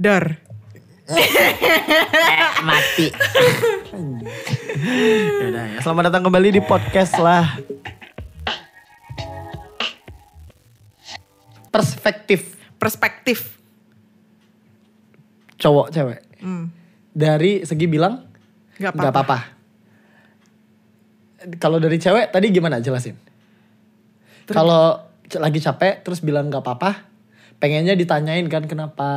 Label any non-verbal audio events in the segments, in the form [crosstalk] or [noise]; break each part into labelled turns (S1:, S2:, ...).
S1: Dar.
S2: mati. [laughs] Yaudah, ya. Selamat datang kembali di podcast lah. Perspektif
S1: Perspektif.
S2: cowok cewek
S1: Hmm.
S2: dari segi bilang
S1: Gak
S2: nggak
S1: apa-apa.
S2: apa-apa. Kalau dari cewek tadi gimana jelasin? Kalau c- lagi capek terus bilang nggak apa-apa, pengennya ditanyain kan kenapa?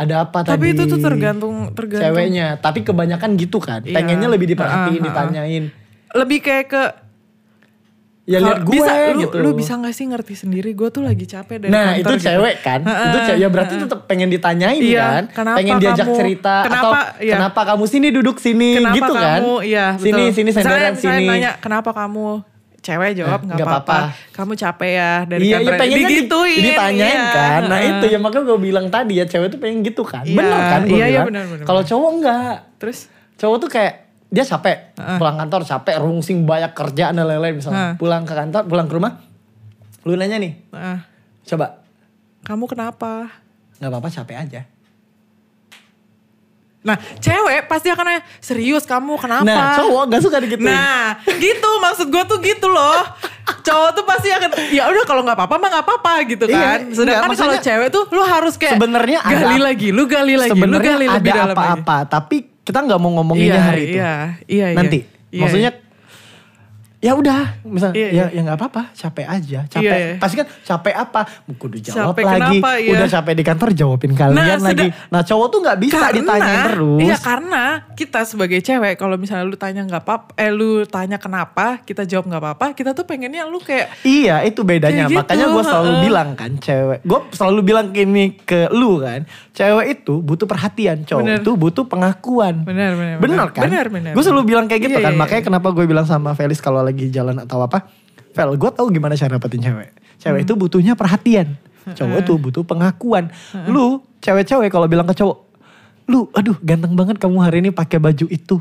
S2: Ada apa
S1: Tapi
S2: tadi?
S1: itu tuh tergantung tergantung.
S2: ceweknya. Tapi kebanyakan gitu kan,
S1: Iya.
S2: pengennya lebih
S1: Ha-ha,
S2: diperhatiin,
S1: ha-ha.
S2: ditanyain.
S1: Lebih kayak ke
S2: Ya
S1: kalau
S2: lihat gue
S1: bisa, lu,
S2: gitu.
S1: lu bisa gak sih ngerti sendiri gue tuh lagi capek dari
S2: Nah itu
S1: kantor gitu.
S2: cewek kan, itu cewek ya berarti tetap pengen ditanyain
S1: Iya,
S2: kan,
S1: kenapa
S2: pengen diajak
S1: kamu-
S2: cerita atau
S1: kenapa- iya.
S2: kenapa kamu sini duduk sini
S1: Kenapa
S2: gitu kan?
S1: kamu? Iya,
S2: Sini
S1: betul.
S2: sini
S1: Misalnya-
S2: senderan
S1: misalnya
S2: sini.
S1: nanya, kenapa kamu cewek jawab
S2: Eh,
S1: nggak
S2: nggak
S1: apa-apa.
S2: apa-apa.
S1: Kamu capek ya dari
S2: Iya, iya
S1: kantor.
S2: pengennya di-
S1: digituin.
S2: ditanyain
S1: iya.
S2: kan. Nah
S1: Heeh.
S2: itu ya makanya gue bilang tadi ya cewek tuh pengen gitu kan.
S1: Iya,
S2: Bener kan
S1: iya,
S2: gue
S1: iya,
S2: bilang.
S1: bener, bener,
S2: Kalau cowok enggak.
S1: Terus
S2: Cowok tuh kayak dia capek. Pulang kantor capek, rungsing banyak kerjaan dan lain-lain misalnya.
S1: Heeh.
S2: Pulang ke kantor, pulang ke rumah. Lu nanya nih,
S1: ah,
S2: coba
S1: kamu kenapa?
S2: nggak apa-apa capek aja.
S1: Nah, cewek pasti akan nanya, serius kamu kenapa?
S2: Nah cowok gak suka digituin.
S1: Nah, gitu maksud gue tuh gitu loh. Cowok tuh pasti akan ya udah kalau nggak apa-apa mah nggak apa-apa gitu
S2: Iya,
S1: kan.
S2: enggak,
S1: Sedangkan kalau
S2: maksudnya-
S1: cewek tuh lu harus kayak
S2: Sebenarnya ada-
S1: gali lagi, lu gali lagi, lu
S2: Sebenarnya
S1: gali lebih
S2: ada
S1: dalam lagi.
S2: apa-apa, tapi kita nggak mau ngomonginnya
S1: Iya,
S2: hari itu.
S1: Iya, iya, iya.
S2: Nanti,
S1: Iya,
S2: maksudnya ya udah, misalnya
S1: Iya,
S2: ya ya nggak apa-apa, capek aja, capek.
S1: Iya, iya.
S2: Pasti kan capek apa? Kudu jawab
S1: Capek
S2: lagi.
S1: kenapa, iya.
S2: Udah capek di kantor jawabin kalian
S1: Nah,
S2: lagi. Nah cowok tuh nggak bisa ditanyain terus.
S1: Iya karena kita sebagai cewek kalau misalnya lu tanya nggak apa, eh lu tanya kenapa, kita jawab nggak apa-apa, kita tuh pengennya lu kayak
S2: Iya itu bedanya
S1: Kayak gitu,
S2: makanya gue selalu
S1: heeh.
S2: bilang kan cewek gue selalu bilang gini ke lu kan cewek itu butuh perhatian cowok
S1: Bener.
S2: itu butuh pengakuan
S1: Bener, bener,
S2: bener
S1: bener.
S2: kan
S1: Bener, bener,
S2: gue selalu
S1: bener.
S2: bilang kayak gitu
S1: Iya,
S2: kan
S1: iya,
S2: makanya kenapa gue bilang sama Felis kalau lagi jalan atau apa Fel gue tahu gimana cara dapetin cewek cewek
S1: Hmm.
S2: itu butuhnya perhatian cowok itu butuh pengakuan lu cewek-cewek kalau bilang ke cowok lu aduh ganteng banget kamu hari ini pakai baju itu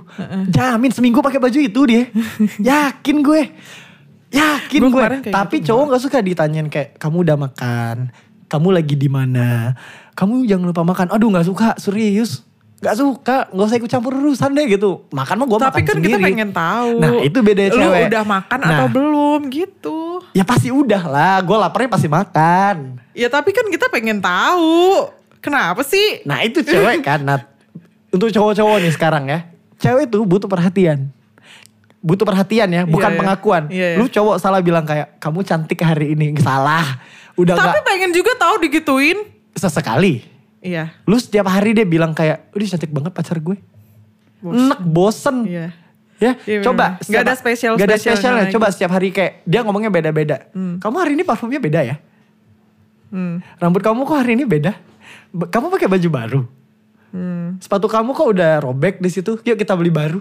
S2: jamin seminggu pakai baju itu
S1: [laughs]
S2: dia yakin gue yakin
S1: Gua
S2: gue
S1: kemarin kayak gitu,
S2: tapi cowok nggak suka ditanyain kayak kamu udah makan kamu lagi di mana kamu jangan lupa makan aduh nggak suka serius nggak suka nggak usah ikut campur urusan deh gitu makan mah gue makan
S1: tapi kan
S2: sendiri
S1: kita pengen tahu.
S2: nah itu bedanya
S1: Lu
S2: cewek
S1: udah makan
S2: Nah,
S1: atau belum gitu.
S2: ya pasti udah lah gue laparnya pasti makan
S1: Ya tapi kan kita pengen tahu. Kenapa sih?
S2: Nah
S1: [laughs]
S2: itu cewek kan. Nat. untuk cowok-cowok nih sekarang ya. Cewek tuh butuh perhatian. Butuh perhatian ya. Bukan
S1: iya.
S2: pengakuan.
S1: Iya, iya.
S2: Lu cowok salah bilang kayak. Kamu cantik hari ini. Salah. Udah
S1: tapi
S2: nggak
S1: pengen juga tahu digituin.
S2: sesekali.
S1: Iya.
S2: Lu setiap hari dia bilang kayak. Udah cantik banget pacar gue. Enak bosen.
S1: Iya.
S2: Ya,
S1: Iya, bener.
S2: coba.
S1: Nggak ada spesial- spesialnya
S2: Gak ada spesialnya.
S1: lagi.
S2: Coba setiap hari kayak dia ngomongnya beda-beda. Kamu hari ini parfumnya beda ya?
S1: Hmm.
S2: Rambut kamu kok hari ini beda? Ba- Kamu pakai baju baru?
S1: Hmm.
S2: Sepatu kamu kok udah robek di situ? Yuk kita beli baru.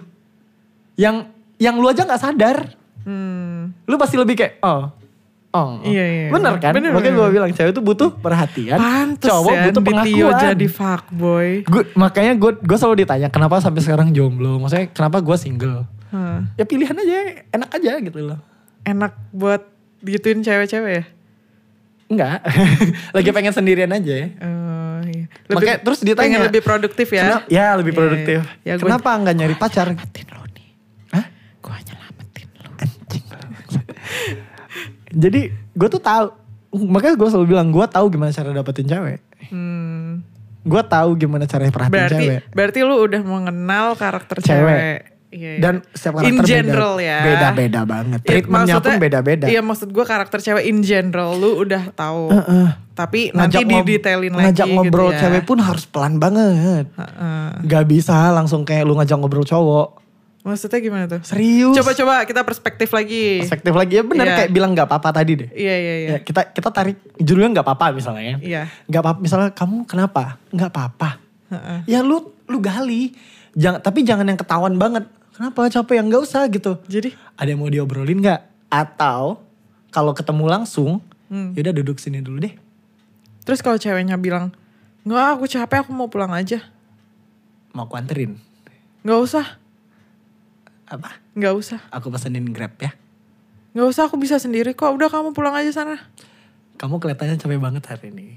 S2: Yang yang lu aja nggak sadar.
S1: Hmm.
S2: Lu pasti lebih kayak oh. Oh.
S1: Iya, iya.
S2: Bener kan?
S1: Bener,
S2: Makanya
S1: bener.
S2: gue bilang cewek itu butuh perhatian. cowok
S1: Pantesan
S2: butuh
S1: Ditio
S2: pengakuan.
S1: ya, jadi fuckboy.
S2: Gua- makanya gue gue selalu ditanya kenapa sampai sekarang jomblo. Maksudnya kenapa gue single?
S1: Hah.
S2: Ya pilihan aja, enak aja gitu loh.
S1: Enak buat digituin cewek-cewek ya?
S2: Enggak. [laughs] Lagi pengen sendirian aja ya.
S1: Oh, iya.
S2: Makanya terus ditanya.
S1: pengen lebih produktif ya.
S2: Kenapa- ya lebih
S1: Iya,
S2: produktif.
S1: iya. Ya, gua-
S2: Kenapa nggak nyari pacar?
S1: Nyelamatin lu nih.
S2: Hah?
S1: Gua nyelamatin lu.
S2: Anjing. Jadi gue tuh tahu. Makanya gue selalu bilang gue tahu gimana cara dapetin cewek.
S1: Hmm.
S2: Gue tahu gimana cara perhatiin
S1: Berarti
S2: cewek.
S1: berarti lu udah mengenal karakter
S2: Cewek.
S1: cewek. Iya, iya.
S2: Dan setiap
S1: in
S2: karakter
S1: general
S2: beda,
S1: ya.
S2: beda-beda banget.
S1: Iya,
S2: Treatmentnya pun
S1: maksudnya-
S2: beda-beda.
S1: Iya maksud gue karakter cewek in general lu udah tahu.
S2: Heeh.
S1: Tapi nanti
S2: ngob-
S1: didetailin lagi
S2: ngajak ngobrol
S1: gitu ya.
S2: cewek pun harus pelan banget.
S1: Heeh.
S2: Gak bisa langsung kayak lu ngajak ngobrol cowok.
S1: Maksudnya gimana tuh?
S2: Serius.
S1: Coba-coba kita perspektif lagi.
S2: Perspektif lagi ya benar
S1: Iya.
S2: kayak bilang nggak apa-apa tadi deh.
S1: Iya iya iya.
S2: Ya, kita kita tarik judulnya nggak apa-apa misalnya. ya.
S1: Iya.
S2: Nggak apa misalnya kamu kenapa? Nggak apa-apa.
S1: Heeh.
S2: Ya lu lu gali. Jangan tapi jangan yang ketahuan banget. Kenapa capek yang nggak usah gitu.
S1: Jadi
S2: Ada yang mau diobrolin nggak? Atau kalau ketemu langsung,
S1: Hmm.
S2: yaudah duduk sini dulu deh.
S1: terus kalau ceweknya bilang nggak aku capek aku mau pulang aja.
S2: Mau aku anterin.
S1: Nggak usah,
S2: Apa?
S1: nggak usah,
S2: Aku pesenin Grab ya.
S1: nggak usah aku bisa sendiri kok. Udah kamu pulang aja sana.
S2: Kamu kelihatannya capek banget hari ini.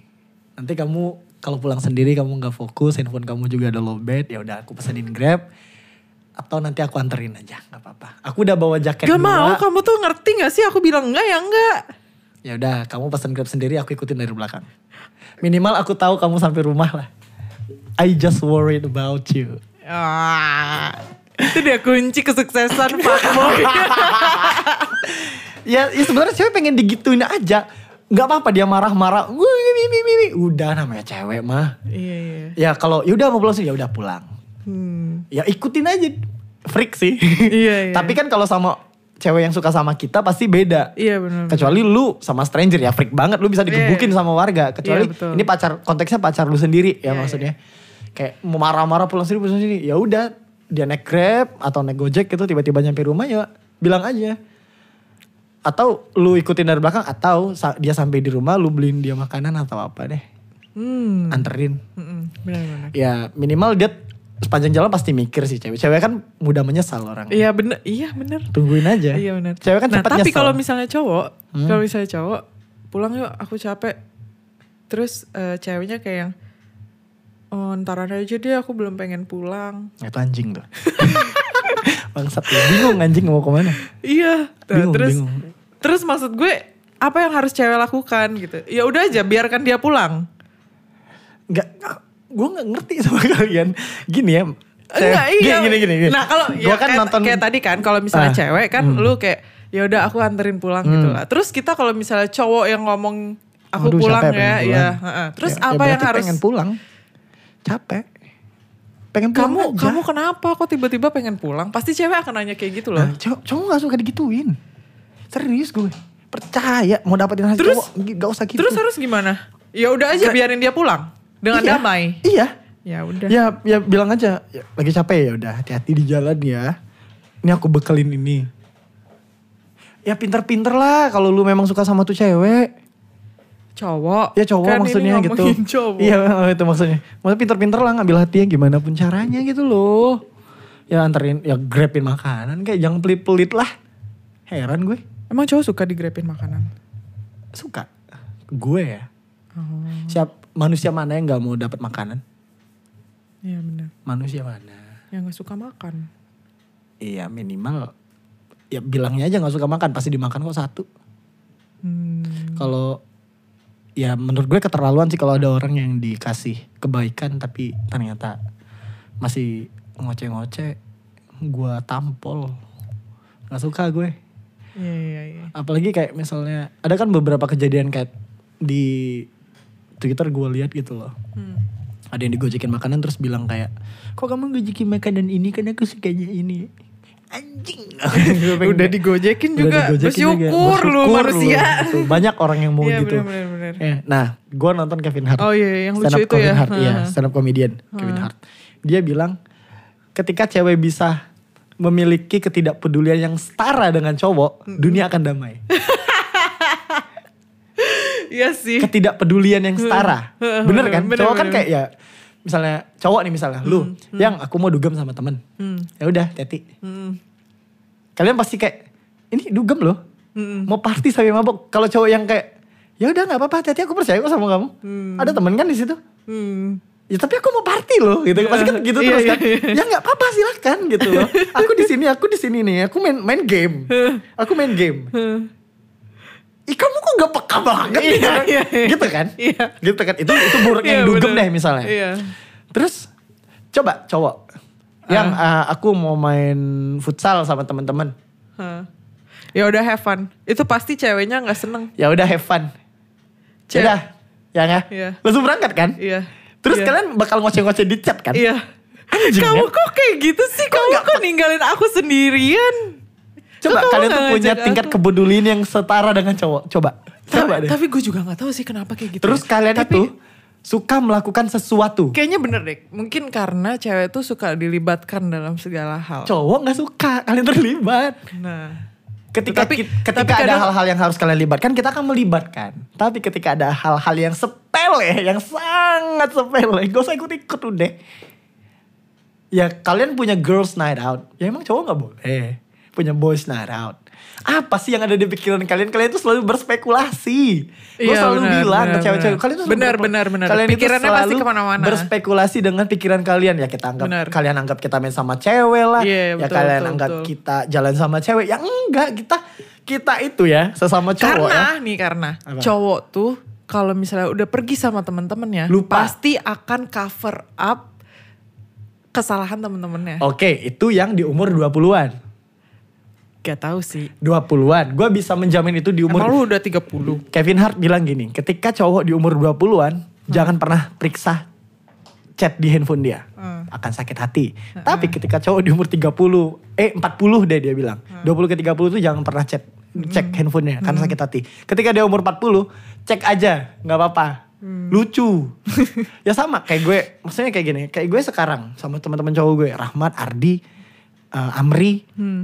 S2: Nanti kamu kalau pulang sendiri kamu nggak fokus handphone kamu juga ada lowbat ya udah aku pesenin grab atau nanti aku anterin aja nggak apa-apa aku udah bawa jaket
S1: Gak
S2: dua.
S1: mau, kamu tuh ngerti gak sih aku bilang enggak ya enggak.
S2: ya udah kamu pesan grab sendiri aku ikutin dari belakang minimal aku tahu kamu sampai rumah lah I just worried about you
S1: Ah, itu dia kunci
S2: [laughs]
S1: kesuksesan Pak
S2: Iya,
S1: Boy.
S2: ya, ya sebenarnya cewek pengen digituin aja nggak apa-apa dia marah-marah "Wuh, ini, ini, ini, ini." udah namanya cewek mah
S1: iya, iya. Hmm.
S2: ya kalau yaudah mau pulang sih ya udah pulang ya ikutin aja freak sih
S1: [laughs] Iya, iya.
S2: tapi kan kalau sama cewek yang suka sama kita pasti beda
S1: Iya benar.
S2: kecuali lu sama stranger ya freak banget lu bisa digebukin sama warga kecuali
S1: Iya, betul. Iya,
S2: ini pacar konteksnya pacar lu sendiri ya maksudnya kayak mau marah-marah pulang sini pulang sini ya udah dia naik grab atau naik gojek gitu tiba-tiba nyampe rumah ya bilang aja atau lu ikutin dari belakang atau sa- dia sampai di rumah lu beliin dia makanan atau apa deh
S1: Hmm,
S2: anterin
S1: mm-mm, benar benar.
S2: ya minimal dia sepanjang jalan pasti mikir sih cewek cewek kan mudah menyesal orang
S1: Iya benar, iya benar.
S2: tungguin aja
S1: Iya benar.
S2: cewek kan
S1: nah,
S2: cepat
S1: tapi
S2: nyesel. Hmm.
S1: kalau misalnya cowok, kalau misalnya cowok pulang yuk aku capek. Terus eh, ceweknya kayak yang oh, ntaran aja deh aku belum pengen pulang.
S2: Ya, itu anjing tuh. [laughs] Bangsat ya. bingung anjing mau kemana.
S1: Iya. Nah,
S2: Bingung,
S1: terus
S2: bingung.
S1: terus maksud gue apa yang harus cewek lakukan gitu? Ya udah aja biarkan dia pulang.
S2: Enggak, gue gak ngerti sama [laughs] kalian. Gini ya. saya-
S1: Enggak, iya.
S2: Gini, gini, gini. gini.
S1: Nah kalau
S2: Gua
S1: ya
S2: kan
S1: kayak,
S2: nonton.
S1: kayak tadi kan kalau misalnya
S2: Ah, Hmm.
S1: cewek kan lu kayak ya udah aku anterin pulang gitu lah. Terus kita kalau misalnya cowok yang ngomong aku
S2: "Aduh,
S1: pulang ya,
S2: capek, pengen
S1: iya.
S2: pulang."
S1: heeh. Terus
S2: Ya, ya
S1: apa yang
S2: berarti
S1: harus
S2: pengen pulang. Capek. Pengen pulang
S1: kamu
S2: aja.
S1: kamu kenapa kok tiba-tiba pengen pulang? Pasti cewek akan nanya kayak gitu loh.
S2: Nah, cowok, cowok gak suka digituin. Serius gue. Percaya mau dapetin hati
S1: Terus-
S2: cowok. Gak usah gitu.
S1: Terus harus gimana? Ya udah aja biarin dia pulang dengan
S2: Iya,
S1: damai.
S2: Iya.
S1: Ya udah.
S2: Ya, ya bilang aja. "Ya, lagi capek ya udah hati-hati di jalan ya. Ini aku bekelin ini. Ya pinter-pinter lah kalau lu memang suka sama tuh cewek.
S1: Cowok.
S2: Ya cowok
S1: Kan ini
S2: maksudnya gitu.
S1: ngomongin Cowok.
S2: Iya [laughs] memang itu maksudnya. Maksudnya pinter-pinter lah ngambil hatinya gimana pun caranya gitu loh. Ya anterin, ya grabin makanan kayak jangan pelit-pelit lah. Heran gue.
S1: Emang cowok suka digrepin makanan?
S2: Suka. Gue ya.
S1: Oh,
S2: Siap manusia mana yang gak mau dapat makanan?
S1: iya benar.
S2: Manusia mana?
S1: Yang gak suka makan.
S2: Iya minimal ya bilangnya aja nggak suka makan pasti dimakan kok satu.
S1: Hmm.
S2: Kalau ya menurut gue keterlaluan sih kalau ada orang yang dikasih kebaikan tapi ternyata masih ngoceh-ngoceh gue tampol nggak suka gue
S1: Iya iya iya.
S2: apalagi kayak misalnya ada kan beberapa kejadian kayak di Twitter gue lihat gitu loh
S1: Hmm.
S2: ada yang digojekin makanan terus bilang kayak kok kamu gojekin makanan ini karena aku sukanya ini anjing Gue pengen-
S1: [laughs] Udah digojekin
S2: Udah
S1: juga.
S2: digojekin
S1: bersyukur
S2: juga.
S1: lu
S2: Bersyukur
S1: manusia.
S2: Betul. banyak orang yang mau
S1: Iya
S2: gitu
S1: benar benar.
S2: Ya, nah gue nonton Kevin Hart
S1: Oh iya yang
S2: stand
S1: lucu
S2: up
S1: itu
S2: Kevin
S1: ya.
S2: Hart iya
S1: Ha, ha.
S2: stand up comedian Kevin Hart dia bilang ketika cewek bisa memiliki ketidakpedulian yang setara dengan cowok dunia akan damai
S1: Iya sih.
S2: ketidakpedulian yang setara.
S1: Heeh,
S2: bener
S1: bener,
S2: kan?
S1: bener,
S2: cowok kan
S1: bener.
S2: kayak ya misalnya cowok nih misalnya lu yang aku mau dugem sama temen. Ya udah, hati.
S1: Hmm.
S2: Kalian pasti kayak ini dugem loh.
S1: Hmm.
S2: Mau party sampai mabok. Kalau cowok yang kayak ya udah nggak apa-apa, hati aku percaya kok sama kamu. Ada temen kan di situ.
S1: Hmm.
S2: Ya tapi aku mau party loh gitu. Pasti kan gitu
S1: Iya,
S2: terus
S1: iya,
S2: kan. Ya nggak apa-apa silakan gitu
S1: [laughs]
S2: loh. Aku di sini, aku di sini nih. Aku main main game. Aku main game. Ih kamu kok gak peka banget
S1: Iya,
S2: gitu kan?
S1: iya, iya.
S2: Gitu kan?
S1: Iya.
S2: Gitu kan? Itu itu buruk
S1: Iya,
S2: yang dugem
S1: bener.
S2: deh misalnya.
S1: Iya.
S2: Terus coba cowok yang ah, aku mau main futsal sama teman-teman.
S1: Ha. Ya udah have fun. Itu pasti ceweknya nggak seneng.
S2: Ya udah have fun.
S1: Cewek.
S2: Udah. Ya nggak?
S1: Iya.
S2: Langsung berangkat kan?
S1: Iya.
S2: Terus
S1: Iya.
S2: kalian bakal ngoceh-ngoceh di chat kan?
S1: Iya.
S2: Anjing,
S1: kamu
S2: kan?
S1: kok kayak gitu sih? Kamu
S2: nggak
S1: kok ninggalin aku sendirian? Kok
S2: Coba
S1: kamu
S2: kalian
S1: nggak
S2: tuh punya
S1: ngajak
S2: tingkat
S1: aku?
S2: kepedulian yang setara dengan cowok. Coba. Coba
S1: Tapi,
S2: deh.
S1: tapi gue juga nggak tahu sih kenapa kayak gitu.
S2: Terus
S1: ya.
S2: kalian
S1: Tapi
S2: itu suka melakukan sesuatu.
S1: Kayaknya bener deh. Mungkin karena cewek tuh suka dilibatkan dalam segala hal.
S2: Cowok nggak suka, kalian terlibat.
S1: Nah.
S2: Ketika
S1: Tetapi-
S2: ki- ketika
S1: tapi
S2: ada
S1: kadang-
S2: hal-hal yang harus kalian libatkan, kita akan melibatkan. Tapi ketika ada hal-hal yang sepele, yang sangat sepele, gak usah ikut-ikut udah. Ya kalian punya girls night out, ya emang cowok nggak boleh. Punya boys night out, Apa sih yang ada di pikiran kalian? Kalian tuh selalu berspekulasi. Gue
S1: Iya,
S2: selalu
S1: benar,
S2: bilang ke
S1: benar,
S2: cewek-cewek,
S1: benar.
S2: kalian tuh selalu
S1: Benar,
S2: berpe-
S1: benar, benar.
S2: Kalian itu
S1: Pikirannya pasti
S2: selalu
S1: kemana-mana.
S2: Berspekulasi dengan pikiran kalian ya kita anggap
S1: Benar.
S2: kalian anggap kita main sama cewek lah,
S1: Iya,
S2: ya
S1: betul,
S2: kalian
S1: betul,
S2: anggap
S1: betul.
S2: kita jalan sama cewek. Ya enggak, kita kita itu ya sesama cowok
S1: karena
S2: ya.
S1: nih karena
S2: Apa?
S1: cowok tuh kalau misalnya udah pergi sama temen-temennya
S2: Lupa.
S1: pasti akan cover up kesalahan temen-temennya
S2: Oke, itu yang di umur 20-an.
S1: gak tahu sih
S2: 20-an. Gue bisa menjamin itu di umur
S1: emang lu udah 30
S2: Kevin Hart bilang gini, ketika cowok di umur 20-an, jangan pernah periksa chat di handphone dia.
S1: Hmm.
S2: Akan sakit hati. Tapi ketika cowok di umur 30, eh 40 deh dia bilang. 20 ke 30 tuh jangan pernah chat cek handphonenya karena sakit hati. Ketika dia umur 40, cek aja, nggak apa-apa. Lucu. ya sama kayak gue, maksudnya kayak gini, kayak gue sekarang sama teman-teman cowok gue, Rahmat, Ardi, eh, Amri,
S1: hmm.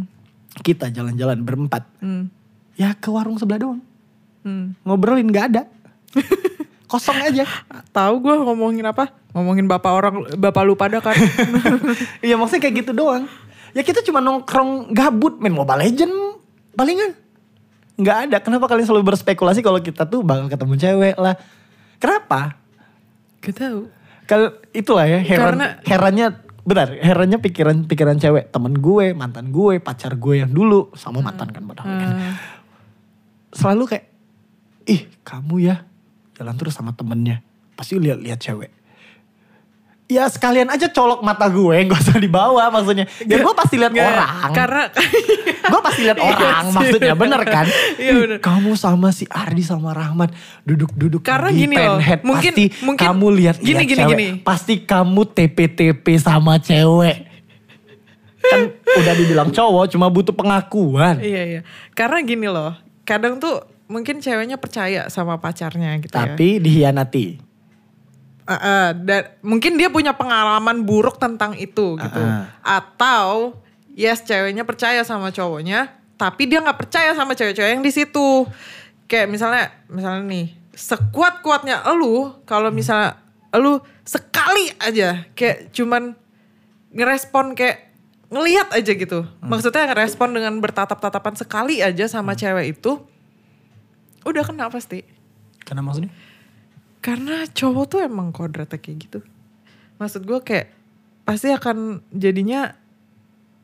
S2: kita jalan-jalan berempat.
S1: Hmm.
S2: Ya ke warung sebelah doang
S1: Hmm.
S2: ngobrolin nggak ada kosong aja
S1: tahu gue ngomongin apa ngomongin bapak orang bapak lu pada
S2: [laughs]
S1: kan
S2: iya maksudnya kayak gitu doang ya kita cuma nongkrong gabut main mobile legend palingan nggak ada kenapa kalian selalu berspekulasi kalau kita tuh bakal ketemu cewek lah kenapa
S1: gak tahu
S2: Kal itulah ya heran
S1: Karena-
S2: herannya benar herannya pikiran pikiran cewek temen gue mantan gue pacar gue yang dulu sama mantan kan padahal kan.
S1: Hmm.
S2: selalu kayak ih kamu ya jalan terus sama temennya pasti lihat-lihat cewek ya sekalian aja colok mata gue [laughs] gak usah dibawa maksudnya ya gue pasti lihat
S1: Nggak,
S2: orang
S1: karena
S2: gue pasti lihat
S1: Iya
S2: orang
S1: sih.
S2: maksudnya bener kan
S1: Iya
S2: Ih,
S1: bener.
S2: kamu sama si Ardi sama Rahmat duduk-duduk
S1: Karena
S2: di
S1: gini loh,
S2: penhead
S1: mungkin-
S2: pasti
S1: mungkin-
S2: kamu lihat-lihat
S1: gini, gini,
S2: cewek
S1: gini.
S2: pasti kamu TP-TP sama cewek kan udah dibilang cowok cuma butuh pengakuan
S1: iya iya karena gini loh kadang tuh mungkin ceweknya percaya sama pacarnya gitu ya
S2: tapi dihianati
S1: Eh, eh, dan mungkin dia punya pengalaman buruk tentang itu gitu.
S2: Ah,
S1: Atau yes ceweknya percaya sama cowoknya, tapi dia nggak percaya sama cewek-cewek yang di situ. Kayak misalnya, misalnya nih, sekuat kuatnya elu kalau
S2: Hmm.
S1: misalnya elu sekali aja kayak cuman ngerespon kayak ngelihat aja gitu.
S2: Hmm.
S1: Maksudnya ngerespon dengan bertatap-tatapan sekali aja sama cewek itu udah kena pasti.
S2: karena maksudnya
S1: Karena cowok tuh emang kodratnya kayak gitu. Maksud gue kayak pasti akan jadinya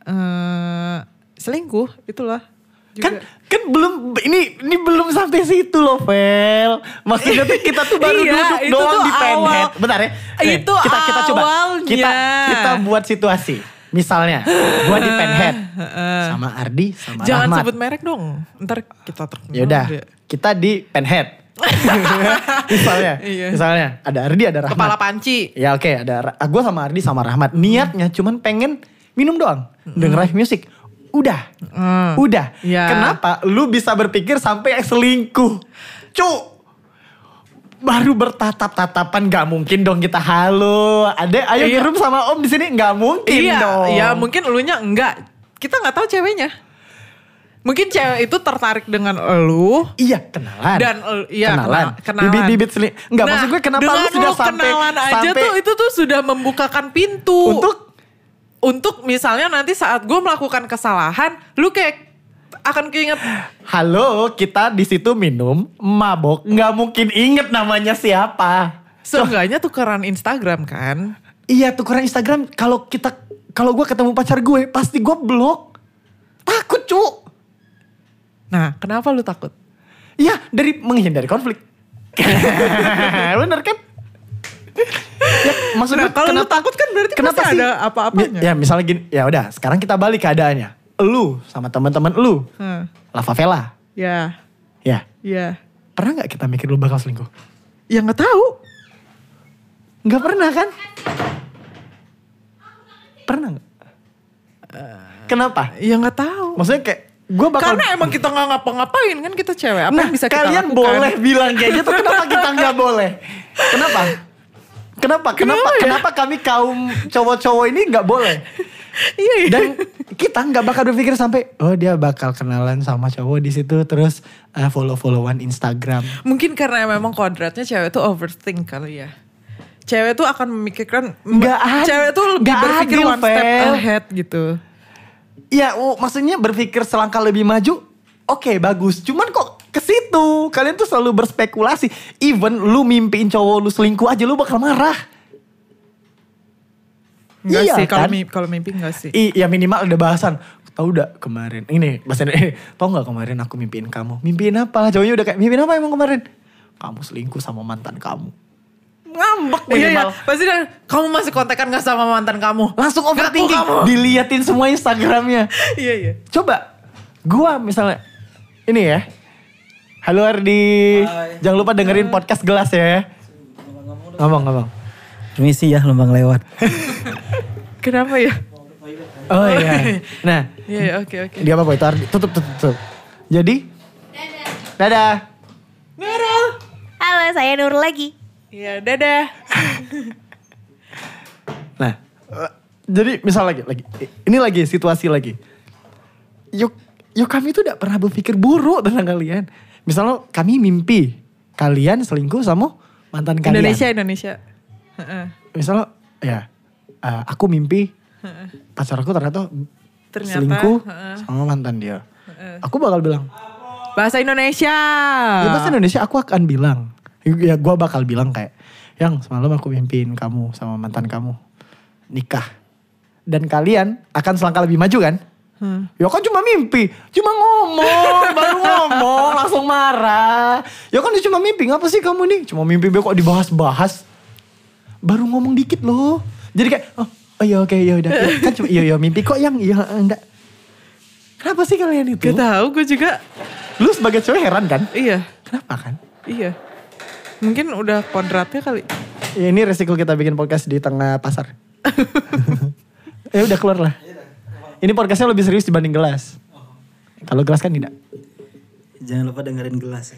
S1: eh selingkuh itulah.
S2: Kan kan belum ini ini belum sampai situ loh, Vel. Maksudnya tuh kita tuh baru
S1: Iya,
S2: duduk
S1: itu
S2: doang
S1: tuh
S2: di penhead.
S1: awal-
S2: Bentar ya.
S1: Itu awalnya.
S2: Kita kita buat situasi. Misalnya, gua di
S1: [laughs]
S2: penhead sama Ardi sama
S1: jangan
S2: Rahmat.
S1: sebut merek dong. Ntar kita terkenal.
S2: Ya udah,
S1: dia.
S2: kita di
S1: [laughs]
S2: penhead. misalnya,
S1: Iya.
S2: misalnya ada Ardi ada Rahmat.
S1: Kepala panci.
S2: Ya oke ada Ra- gue sama Ardi sama Rahmat niatnya cuman pengen minum doang denger live music udah
S1: Hmm.
S2: udah
S1: Ya.
S2: kenapa lu bisa berpikir sampai selingkuh cu baru bertatap tatapan nggak mungkin dong kita halo ade ayo
S1: Iya.
S2: ngirim sama om di sini nggak mungkin
S1: Iya,
S2: dong
S1: iya mungkin elunya enggak. Kita nggak tahu ceweknya. Mungkin cewek itu tertarik dengan elu
S2: Iya kenalan.
S1: Dan, eh, iya,
S2: kenalan.
S1: kena- kenalan.
S2: Bibit-bibit seling. Enggak
S1: Nah,
S2: maksud gue kenapa
S1: dengan
S2: lu sudah sampai
S1: kenalan aja
S2: sampai
S1: tuh itu tuh sudah membukakan pintu
S2: untuk
S1: untuk misalnya nanti saat gue melakukan kesalahan, lu kayak akan keinget
S2: Halo, kita di situ minum, mabok, nggak mungkin inget namanya siapa.
S1: seenggaknya tukeran Instagram kan?
S2: Iya, tukeran Instagram. Kalau kita, kalau gue ketemu pacar gue, pasti gue blok. Takut cu.
S1: Nah, kenapa lu takut?
S2: Iya, dari menghindari konflik. [laughs] Bener kan? Ya, maksudnya
S1: Nah, kalau lu takut kan berarti pasti ada apa-apanya.
S2: Ya, misalnya gini, ya udah, sekarang kita balik keadaannya. Lu sama teman-teman lu,
S1: Hmm,
S2: Lava Vela.
S1: ya,
S2: Ya,
S1: ya,
S2: pernah nggak kita mikir lu bakal selingkuh?
S1: ya nggak tahu.
S2: Nggak pernah kan? Pernah nggak? Kenapa?
S1: Ya nggak tahu.
S2: Maksudnya kayak gue bakal
S1: Karena emang kita nggak ngapa-ngapain kan kita cewek. Apa
S2: nah,
S1: yang bisa kita
S2: kalian
S1: lakukan?
S2: boleh bilang kayak gitu kenapa kita nggak boleh? Kenapa? Kenapa? Kenapa?
S1: ya?
S2: Kenapa kami kaum cowok-cowok ini nggak boleh?
S1: Iya, iya.
S2: Dan kita nggak bakal berpikir sampai oh dia bakal kenalan sama cowok di situ terus eh, follow-followan Instagram.
S1: Mungkin karena memang kodratnya cewek tuh overthink kali ya. Cewek tuh akan memikirkan
S2: Nggak ad-
S1: cewek tuh lebih
S2: nggak
S1: berpikir
S2: adil,
S1: one step
S2: Fel.
S1: ahead gitu.
S2: Iya, oh, maksudnya berpikir selangkah lebih maju Oke bagus, cuman kok ke situ kalian tuh selalu berspekulasi. Even lu mimpiin cowok lu selingkuh aja lu bakal marah.
S1: Enggak
S2: Iya,
S1: sih kalau
S2: kan?
S1: mimpi, kalau mimpi enggak sih.
S2: I, ya minimal ada bahasan. Tahu udah kemarin ini bahasa ini [laughs] tahu nggak kemarin aku mimpiin kamu. Mimpiin apa? Cowoknya udah kayak mimpiin apa emang kemarin? Kamu selingkuh sama mantan kamu.
S1: Ngambek
S2: Iya,
S1: iya,
S2: iya.
S1: ya. Pasti dia, kamu masih kontekan gak sama mantan kamu? [laughs]
S2: Langsung
S1: Ngaku
S2: overthinking,
S1: kamu.
S2: diliatin semua Instagramnya.
S1: Iya, iya.
S2: Coba gua misalnya ini ya. Halo Ardi.
S3: Hai.
S2: Jangan lupa dengerin podcast gelas ya. Ngomong ngomong.
S3: Permisi ya lembang lewat.
S1: Kenapa ya?
S2: Oh
S3: [laughs]
S2: iya. Nah,
S1: Iya, iya, oke, oke.
S2: dia apa itu Ardi? Tutup tutup tutup. Jadi Dadah.
S1: Nurul.
S4: Halo, saya Nur lagi.
S1: Iya, dadah.
S2: Nah, eh, jadi misal lagi lagi ini lagi situasi lagi. Yuk, yuk kami tuh tidak pernah berpikir buruk tentang kalian. Misalnya kami mimpi kalian selingkuh sama mantan kalian.
S1: Indonesia, Indonesia. Heeh.
S2: Misalnya ya eh, aku mimpi pacar aku ternyata,
S1: Ternyata,
S2: selingkuh
S1: heeh.
S2: sama mantan dia. Aku bakal bilang,
S1: Bahasa Indonesia. Iya, Ah.
S2: Ya bahasa Indonesia aku akan bilang. Ya gue bakal bilang kayak, yang semalam aku mimpiin kamu sama mantan kamu nikah. Dan kalian akan selangkah lebih maju kan? Ya kan cuma mimpi, cuma ngomong, [laughs] baru ngomong, langsung marah. Ya kan cuma mimpi, ngapa sih kamu nih? Cuma mimpi be kok dibahas-bahas. Baru ngomong dikit loh. Jadi kayak, oh, oh iya oke, iya udah. Ya, kan cuma, iya iya mimpi kok yang, iya enggak. Kenapa sih kalian itu?
S1: Gak tau, gue juga.
S2: Lu sebagai cewek heran kan?
S1: Iya,
S2: Kenapa kan?
S1: iya. Mungkin udah kodratnya kali.
S2: Ya, ini resiko kita bikin podcast di tengah pasar. [laughs] ya udah keluar lah. Ini podcastnya lebih serius dibanding gelas. Kalau gelas kan tidak.
S3: Jangan lupa dengerin gelas. ya.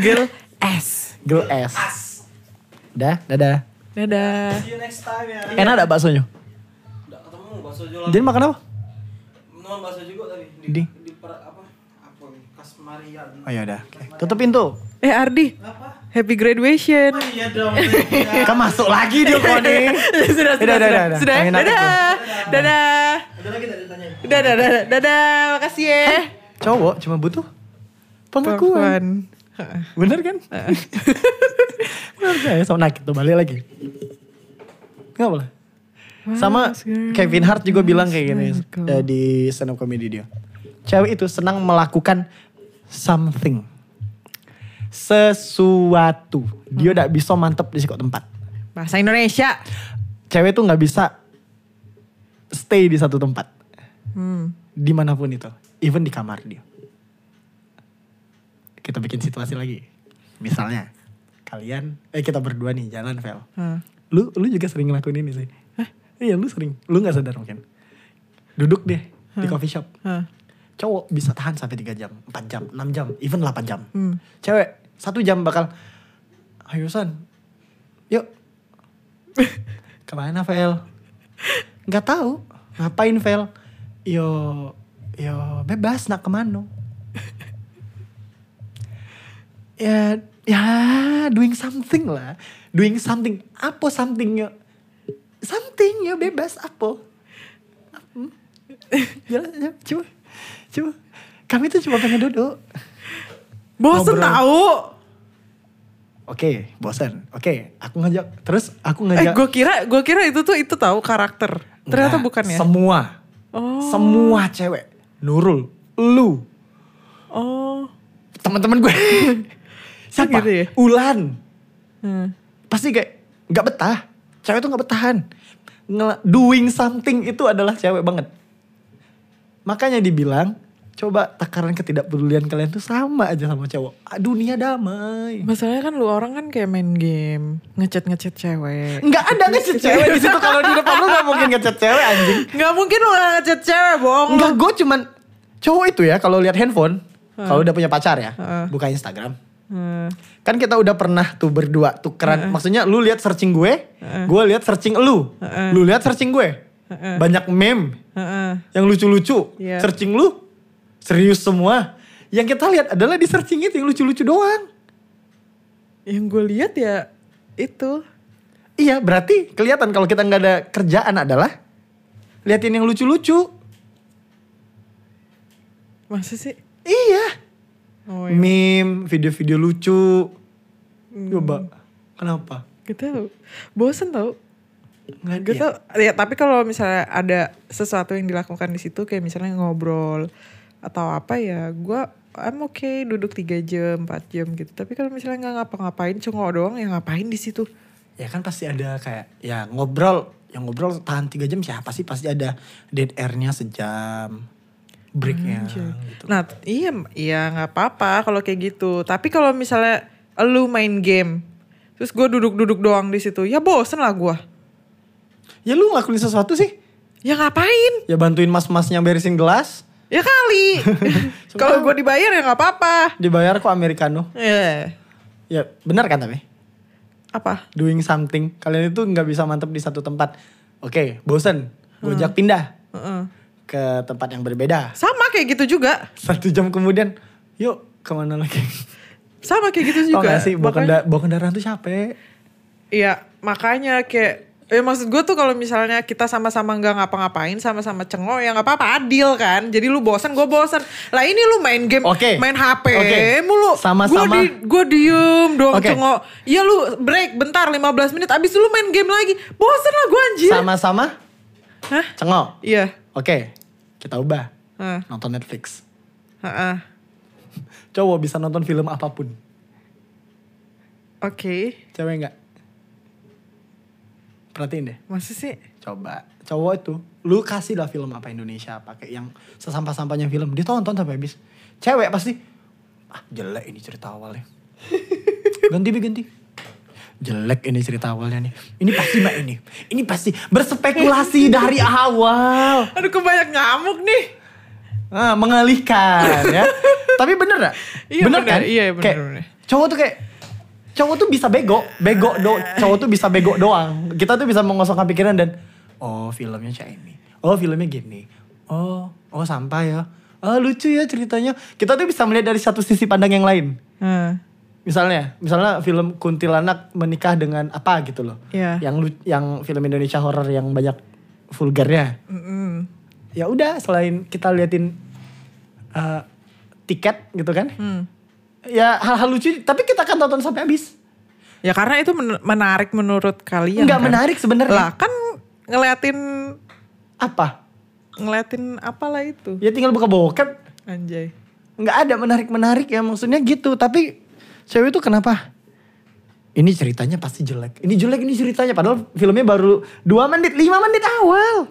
S1: Girl S.
S2: Gel es. Udah, dadah.
S1: Dadah.
S3: See you next time ya.
S2: Enak ada baksonya?
S3: Udah ketemu bakso jualan.
S2: Jadi makan apa?
S3: Nuan bakso juga tadi di,
S2: Di.
S3: di per, apa? Apa? Kasmarian.
S2: Oh ya udah. Tutup pintu.
S1: Eh Ardi,
S3: Apa?
S1: happy graduation.
S3: Iya dong. iya.
S2: Kan masuk lagi dia
S3: [laughs]
S1: Oh,
S2: Koni.
S1: [laughs] sudah, sudah,
S2: Udah,
S1: sudah,
S2: udah,
S1: sudah,
S2: udah.
S1: sudah. ya?
S2: Angin
S1: Dadah,
S2: aku tuh.
S1: dadah, dadah,
S3: Udah lagi tadi tanya.
S1: dadah, dadah, makasih ya.
S2: Cowok cuma butuh pengakuan.
S1: Heeh.
S2: Bener kan? Bener ya, sama nakit tuh balik lagi. Gak boleh. Sama Kevin Hart juga bilang kayak gini eh, di stand up comedy dia. Cewek itu senang melakukan something. Sesuatu. Dia udah bisa mantep di sekok tempat.
S1: Bahasa Indonesia.
S2: Cewek tuh nggak bisa stay di satu tempat.
S1: Hmm.
S2: Dimanapun itu. Even di kamar dia. Kita bikin situasi lagi. Misalnya. Kalian, eh kita berdua nih jalan Vel.
S1: Hah.
S2: Lu lu juga sering ngelakuin ini sih. Iya, lu sering. Lu nggak sadar mungkin. Duduk deh di coffee shop.
S1: Hah.
S2: Cowok bisa tahan sampai 3 jam, 4 jam, 6 jam, even 8 jam. Cewek satu jam bakal ayo San. Yuk. Kemana Vel? Nggak tahu. Ngapain Vel? Yo yo bebas nak kemana? [laughs] ya ya doing something lah doing something apa somethingnya somethingnya bebas apa Hmm. Jalan, ya, coba coba kami tuh cuma pengen duduk
S1: Bosen
S2: Ngobrol.
S1: tahu.
S2: oke bosan oke aku ngajak terus aku
S1: Eh,
S2: ngajak
S1: gue kira, gue kira itu tuh itu tahu karakter. Ternyata
S2: Nggak,
S1: bukan ya.
S2: semua
S1: Oh.
S2: semua cewek Nurul lu
S1: Oh.
S2: teman-teman gue siapa
S1: gitu ya?
S2: Ulan
S1: Hmm.
S2: pasti kayak nggak betah cewek tuh nggak betahan Ngel- doing something itu adalah cewek banget makanya dibilang coba takaran ketidakpedulian kalian tuh sama aja sama cowok Ah, dunia damai
S1: Masalahnya kan lu orang kan kayak main game, ngechat ngechat cewek.
S2: nggak ada ngechat cewek di situ kalau di depan lu nggak mungkin ngechat cewek anjing
S1: Gak mungkin lu nggak ngechat cewek, bohong. lu.
S2: nggak gue cuman cowok itu ya kalau lihat handphone kalau udah punya pacar ya
S1: Heeh.
S2: buka Instagram
S1: Hmm.
S2: kan kita udah pernah tuh berdua tukeran maksudnya lu lihat searching gue gue lihat searching lu lu lihat searching gue banyak meme
S1: Heeh.
S2: yang lucu-lucu
S1: Iya.
S2: searching lu serius semua yang kita lihat adalah di searching itu yang lucu-lucu doang
S1: Yang gue lihat ya itu.
S2: iya berarti kelihatan kalau kita nggak ada kerjaan adalah liatin yang lucu-lucu
S1: Masa sih?
S2: Iya.
S1: Oh, iya.
S2: Meme, video-video lucu. Coba. Kenapa?
S1: Gak tau. Bosen tau.
S2: Nggak
S1: Gak tau. Ya tapi kalau misalnya ada sesuatu yang dilakukan di situ kayak misalnya ngobrol atau apa ya gue I'm okay duduk 3 jam 4 jam gitu. Tapi kalau misalnya nggak ngapa-ngapain cengok doang ya ngapain di situ?
S2: ya kan pasti ada kayak ya ngobrol yang ngobrol tahan tiga jam siapa sih pasti ada dead airnya sejam breaknya gitu
S1: Nah t- iya iya nggak apa-apa kalau kayak gitu. Tapi kalau misalnya lu main game terus gue duduk-duduk doang di situ ya bosen lah gue.
S2: ya lu ngelakuin sesuatu sih
S1: Ya ngapain?
S2: ya bantuin mas-masnya beresin gelas
S1: Ya kali. [laughs] kalau gue dibayar ya nggak apa-apa.
S2: dibayar kok americano
S1: Eh
S2: ya benar kan tapi
S1: apa?
S2: doing something kalian itu nggak bisa mantep di satu tempat oke bosen gojak pindah
S1: Heeh.
S2: ke tempat yang berbeda
S1: Sama kayak gitu juga.
S2: satu jam kemudian yuk kemana lagi
S1: Sama kayak gitu
S2: Tau
S1: juga.
S2: gak sih bawa,
S1: Makanya-
S2: kenda- bawa kendaraan tuh capek
S1: Iya, makanya kayak eh maksud gue tuh kalau misalnya kita sama-sama nggak ngapa-ngapain, sama-sama cengok ya nggak apa-apa adil kan. Jadi lu bosan, gue bosan. Lah ini lu main game,
S2: Oke.
S1: main HP
S2: Oke.
S1: mulu.
S2: Sama-sama.
S1: Gue di, gua diem doang
S2: Oke.
S1: cengok. Ya lu break bentar 15 menit, abis itu lu main game lagi. Bosan lah gue anjir.
S2: sama-sama
S1: Hah?
S2: cengok
S1: Iya.
S2: Oke, kita ubah.
S1: Heeh.
S2: Nonton Netflix.
S1: Heeh.
S2: Cowok bisa nonton film apapun.
S1: Oke,
S2: Cewek nggak? Perhatiin deh.
S1: masa sih?
S2: Coba. Cowok itu, lu kasih lah film apa Indonesia pakai yang sesampah-sampahnya film. Dia tonton sampai habis. Cewek pasti, ah jelek ini cerita
S1: [laughs]
S2: awalnya. ganti Bi, ganti. Jelek ini cerita awalnya nih. Ini pasti mbak ini. Ini pasti berspekulasi dari awal.
S1: Aduh kebanyak nyamuk nih.
S2: Ah, mengalihkan ya.
S1: [laughs]
S2: Tapi bener gak?
S1: Iya, bener,
S2: kan?
S1: iya, bener,
S2: Kayak,
S1: bener.
S2: Cowok tuh kayak cowok tuh bisa bego, bego do, cowok tuh bisa bego doang. Kita tuh bisa mengosongkan pikiran dan oh filmnya kayak ini. Oh filmnya gini. Oh, oh sampah ya. Oh lucu ya ceritanya. Kita tuh bisa melihat dari satu sisi pandang yang lain.
S1: Heeh.
S2: Misalnya, misalnya film kuntilanak menikah dengan apa gitu loh.
S1: Iya.
S2: Yang lu- yang film Indonesia horor yang banyak vulgarnya
S1: Mm-mm.
S2: ya udah selain kita liatin eh, tiket gitu kan
S1: Hmm.
S2: ya hal-hal lucu tapi kita akan tonton sampai habis
S1: Ya karena itu men- menarik menurut kalian.
S2: nggak
S1: kan?
S2: menarik ya?
S1: Lah
S2: sebenarnya
S1: kan ngeliatin
S2: apa
S1: ngeliatin apalah itu.
S2: ya tinggal buka bokep
S1: Anjay.
S2: nggak ada menarik menarik ya maksudnya gitu tapi cewek itu kenapa ini ceritanya pasti jelek ini jelek ini ceritanya padahal filmnya baru dua menit lima menit awal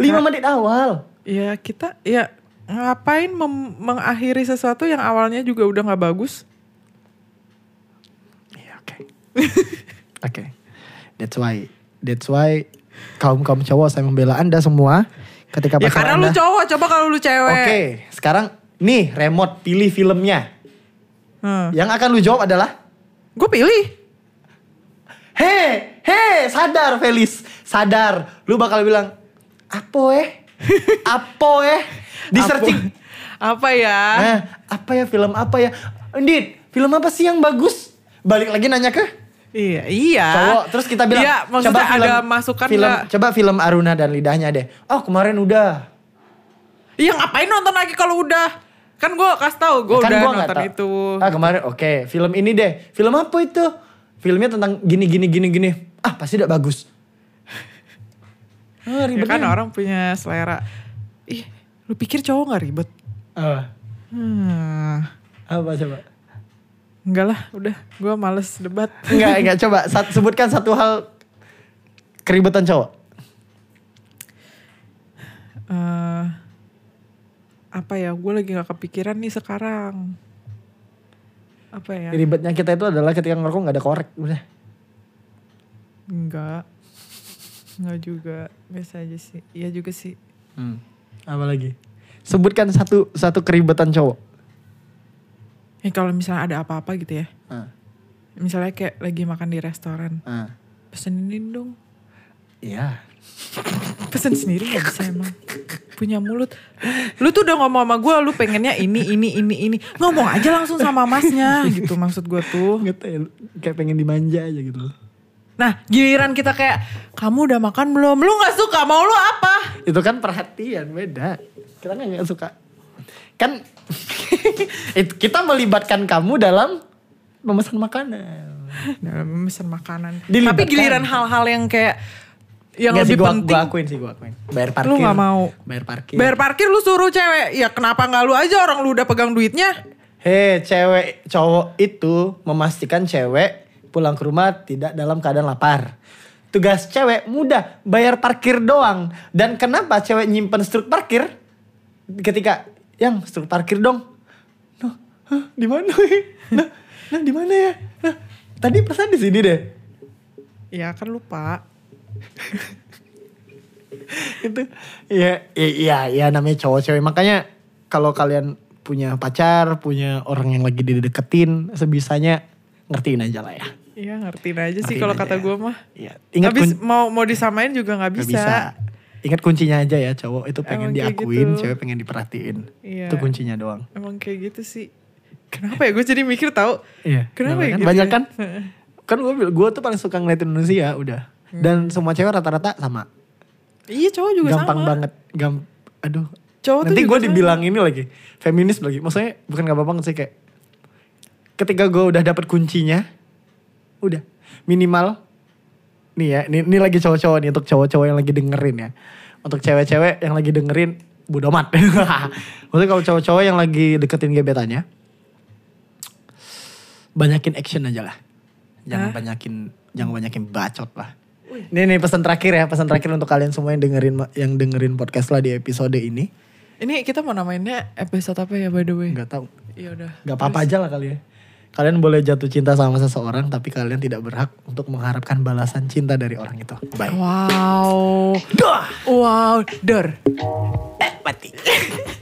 S2: lima menit awal
S1: Ya kita ya ngapain mem- mengakhiri sesuatu yang awalnya juga udah nggak bagus?
S2: Iya, oke. [laughs] oke. That's why that's why kaum-kaum cowok saya membela Anda semua ketika
S1: Ya
S2: pacar
S1: karena lu
S2: Anda.
S1: cowok, coba kalau lu
S2: Oke,
S1: cewek.
S2: sekarang nih remote pilih filmnya.
S1: Hmm.
S2: Yang akan lu jawab adalah
S1: Gue pilih.
S2: Hei, hei, sadar Felis, sadar. Lu bakal bilang, apa eh?
S1: [laughs]
S2: Apa eh? Di searching.
S1: Apa ya?
S2: Eh, apa ya film apa ya? Indit, film apa sih yang bagus? Balik lagi nanya ke
S1: Iya, iya.
S2: cowok terus kita bilang
S1: Iya, maksudnya
S2: film-
S1: ada masukan
S2: film
S1: nggak?
S2: coba film Aruna dan lidahnya deh oh kemarin udah
S1: Iya ngapain nonton lagi kalau udah? Kan gue kasih tahu gue
S2: Kan
S1: udah
S2: gua nggak
S1: nonton
S2: tahu.
S1: itu.
S2: ah kemarin oke film ini deh film apa itu filmnya tentang gini gini gini gini ah pasti udah bagus ah,
S1: [laughs] Ya
S2: ribet
S1: kan
S2: nih.
S1: orang punya selera. Ih, lu pikir cowok nggak ribet?
S2: Ah,
S1: Hmm.
S2: apa coba
S1: Enggak lah, udah. Gue males debat.
S2: enggak enggak coba sat- sebutkan satu hal keribetan cowok
S1: [laughs] eh apa ya? Gue lagi gak kepikiran nih sekarang. Apa ya?
S2: ribetnya kita itu adalah ketika ngerokok nggak ada korek udah
S1: Enggak. Enggak juga. Biasa aja sih. Iya juga sih.
S2: hmm. apa lagi sebutkan satu satu keribetan cowok
S1: Eh kalau misalnya ada apa-apa gitu ya. Misalnya kayak lagi makan di restoran.
S2: ah.
S1: Pesenin dong.
S2: Iya.
S1: Pesen sendiri gak bisa emang. Punya mulut. Lu tuh udah ngomong sama gue. Lu pengennya ini, ini, ini, ini. Ngomong aja langsung sama masnya gitu maksud gue tuh.
S2: Gitu ya, kayak pengen dimanja aja gitu.
S1: Nah, giliran kita kayak kamu udah makan belum? Lu nggak suka, mau lu apa?
S2: itu kan perhatian beda kita kan nggak suka kan [laughs] it- kita melibatkan kamu dalam memesan makanan
S1: dalam memesan Nah, makanan.
S2: Dilibatkan.
S1: Tapi giliran hal-hal yang kayak yang
S2: Nggak sih,
S1: lebih
S2: gua,
S1: penting.
S2: gua akuin sih gua akuin bayar parkir
S1: Lu nggak mau.
S2: bayar parkir
S1: Bayar parkir lu suruh cewek. Ya kenapa nggak lu aja orang lu udah pegang duitnya?
S2: Hei cewek cowok itu memastikan cewek pulang ke rumah tidak dalam keadaan lapar. Tugas cewek mudah bayar parkir doang. Dan kenapa cewek nyimpen struk parkir? Ketika yang struk parkir dong. Nah, hah, di mana? weh? Nah, nah di mana ya? Nah, tadi pesan di sini deh.
S1: Ya kan lupa.
S2: itu ya ya ya, ya, namanya cowok cewek makanya kalau kalian punya pacar punya orang yang lagi dideketin sebisanya ngertiin aja lah ya
S1: Iya ngertiin aja sih
S2: Ngertiin
S1: kalau
S2: aja
S1: kata
S2: ya.
S1: gue mah.
S2: Iya. Ingat
S1: Habis
S2: kun-
S1: mau mau disamain juga nggak
S2: Nggak
S1: bisa.
S2: Ingat kuncinya aja ya cowok itu pengen
S1: Emang kayak
S2: diakuin,
S1: gitu.
S2: cewek pengen diperhatiin.
S1: Iya.
S2: Itu kuncinya doang.
S1: Emang kayak gitu sih. Kenapa ya gue jadi mikir tahu.
S2: Iya.
S1: Kenapa ya
S2: kan?
S1: gitu
S2: Banyak
S1: ya?
S2: kan? kan gue gue tuh paling suka ngeliatin Indonesia udah. Dan semua cewek rata-rata sama.
S1: Iya cowok Hmm. juga
S2: Gampang
S1: sama.
S2: banget. Gam aduh.
S1: Cowok tuh
S2: Nanti
S1: juga
S2: gue
S1: sama.
S2: dibilang ini lagi feminis lagi. Maksudnya bukan gak apa-apa sih kayak ketika gue udah dapet kuncinya udah minimal nih ya ini, ini lagi cowok-cowok nih untuk cowok-cowok yang lagi dengerin ya untuk cewek-cewek yang lagi dengerin bodo amat [laughs] maksudnya kalau cowok-cowok yang lagi deketin gebetannya banyakin action aja lah jangan banyakin jangan banyakin bacot lah ini nih pesan terakhir ya pesan terakhir untuk kalian semua yang dengerin yang dengerin podcast lah di episode ini
S1: Ini kita mau namainnya episode apa ya by the way?
S2: nggak tahu
S1: Ya udah.
S2: nggak apa-apa aja lah kali ya kalian boleh jatuh cinta sama seseorang tapi kalian tidak berhak untuk mengharapkan balasan cinta dari orang itu bye
S1: Wow.
S2: Dah.
S1: Wow, dor.
S2: Eh, mati.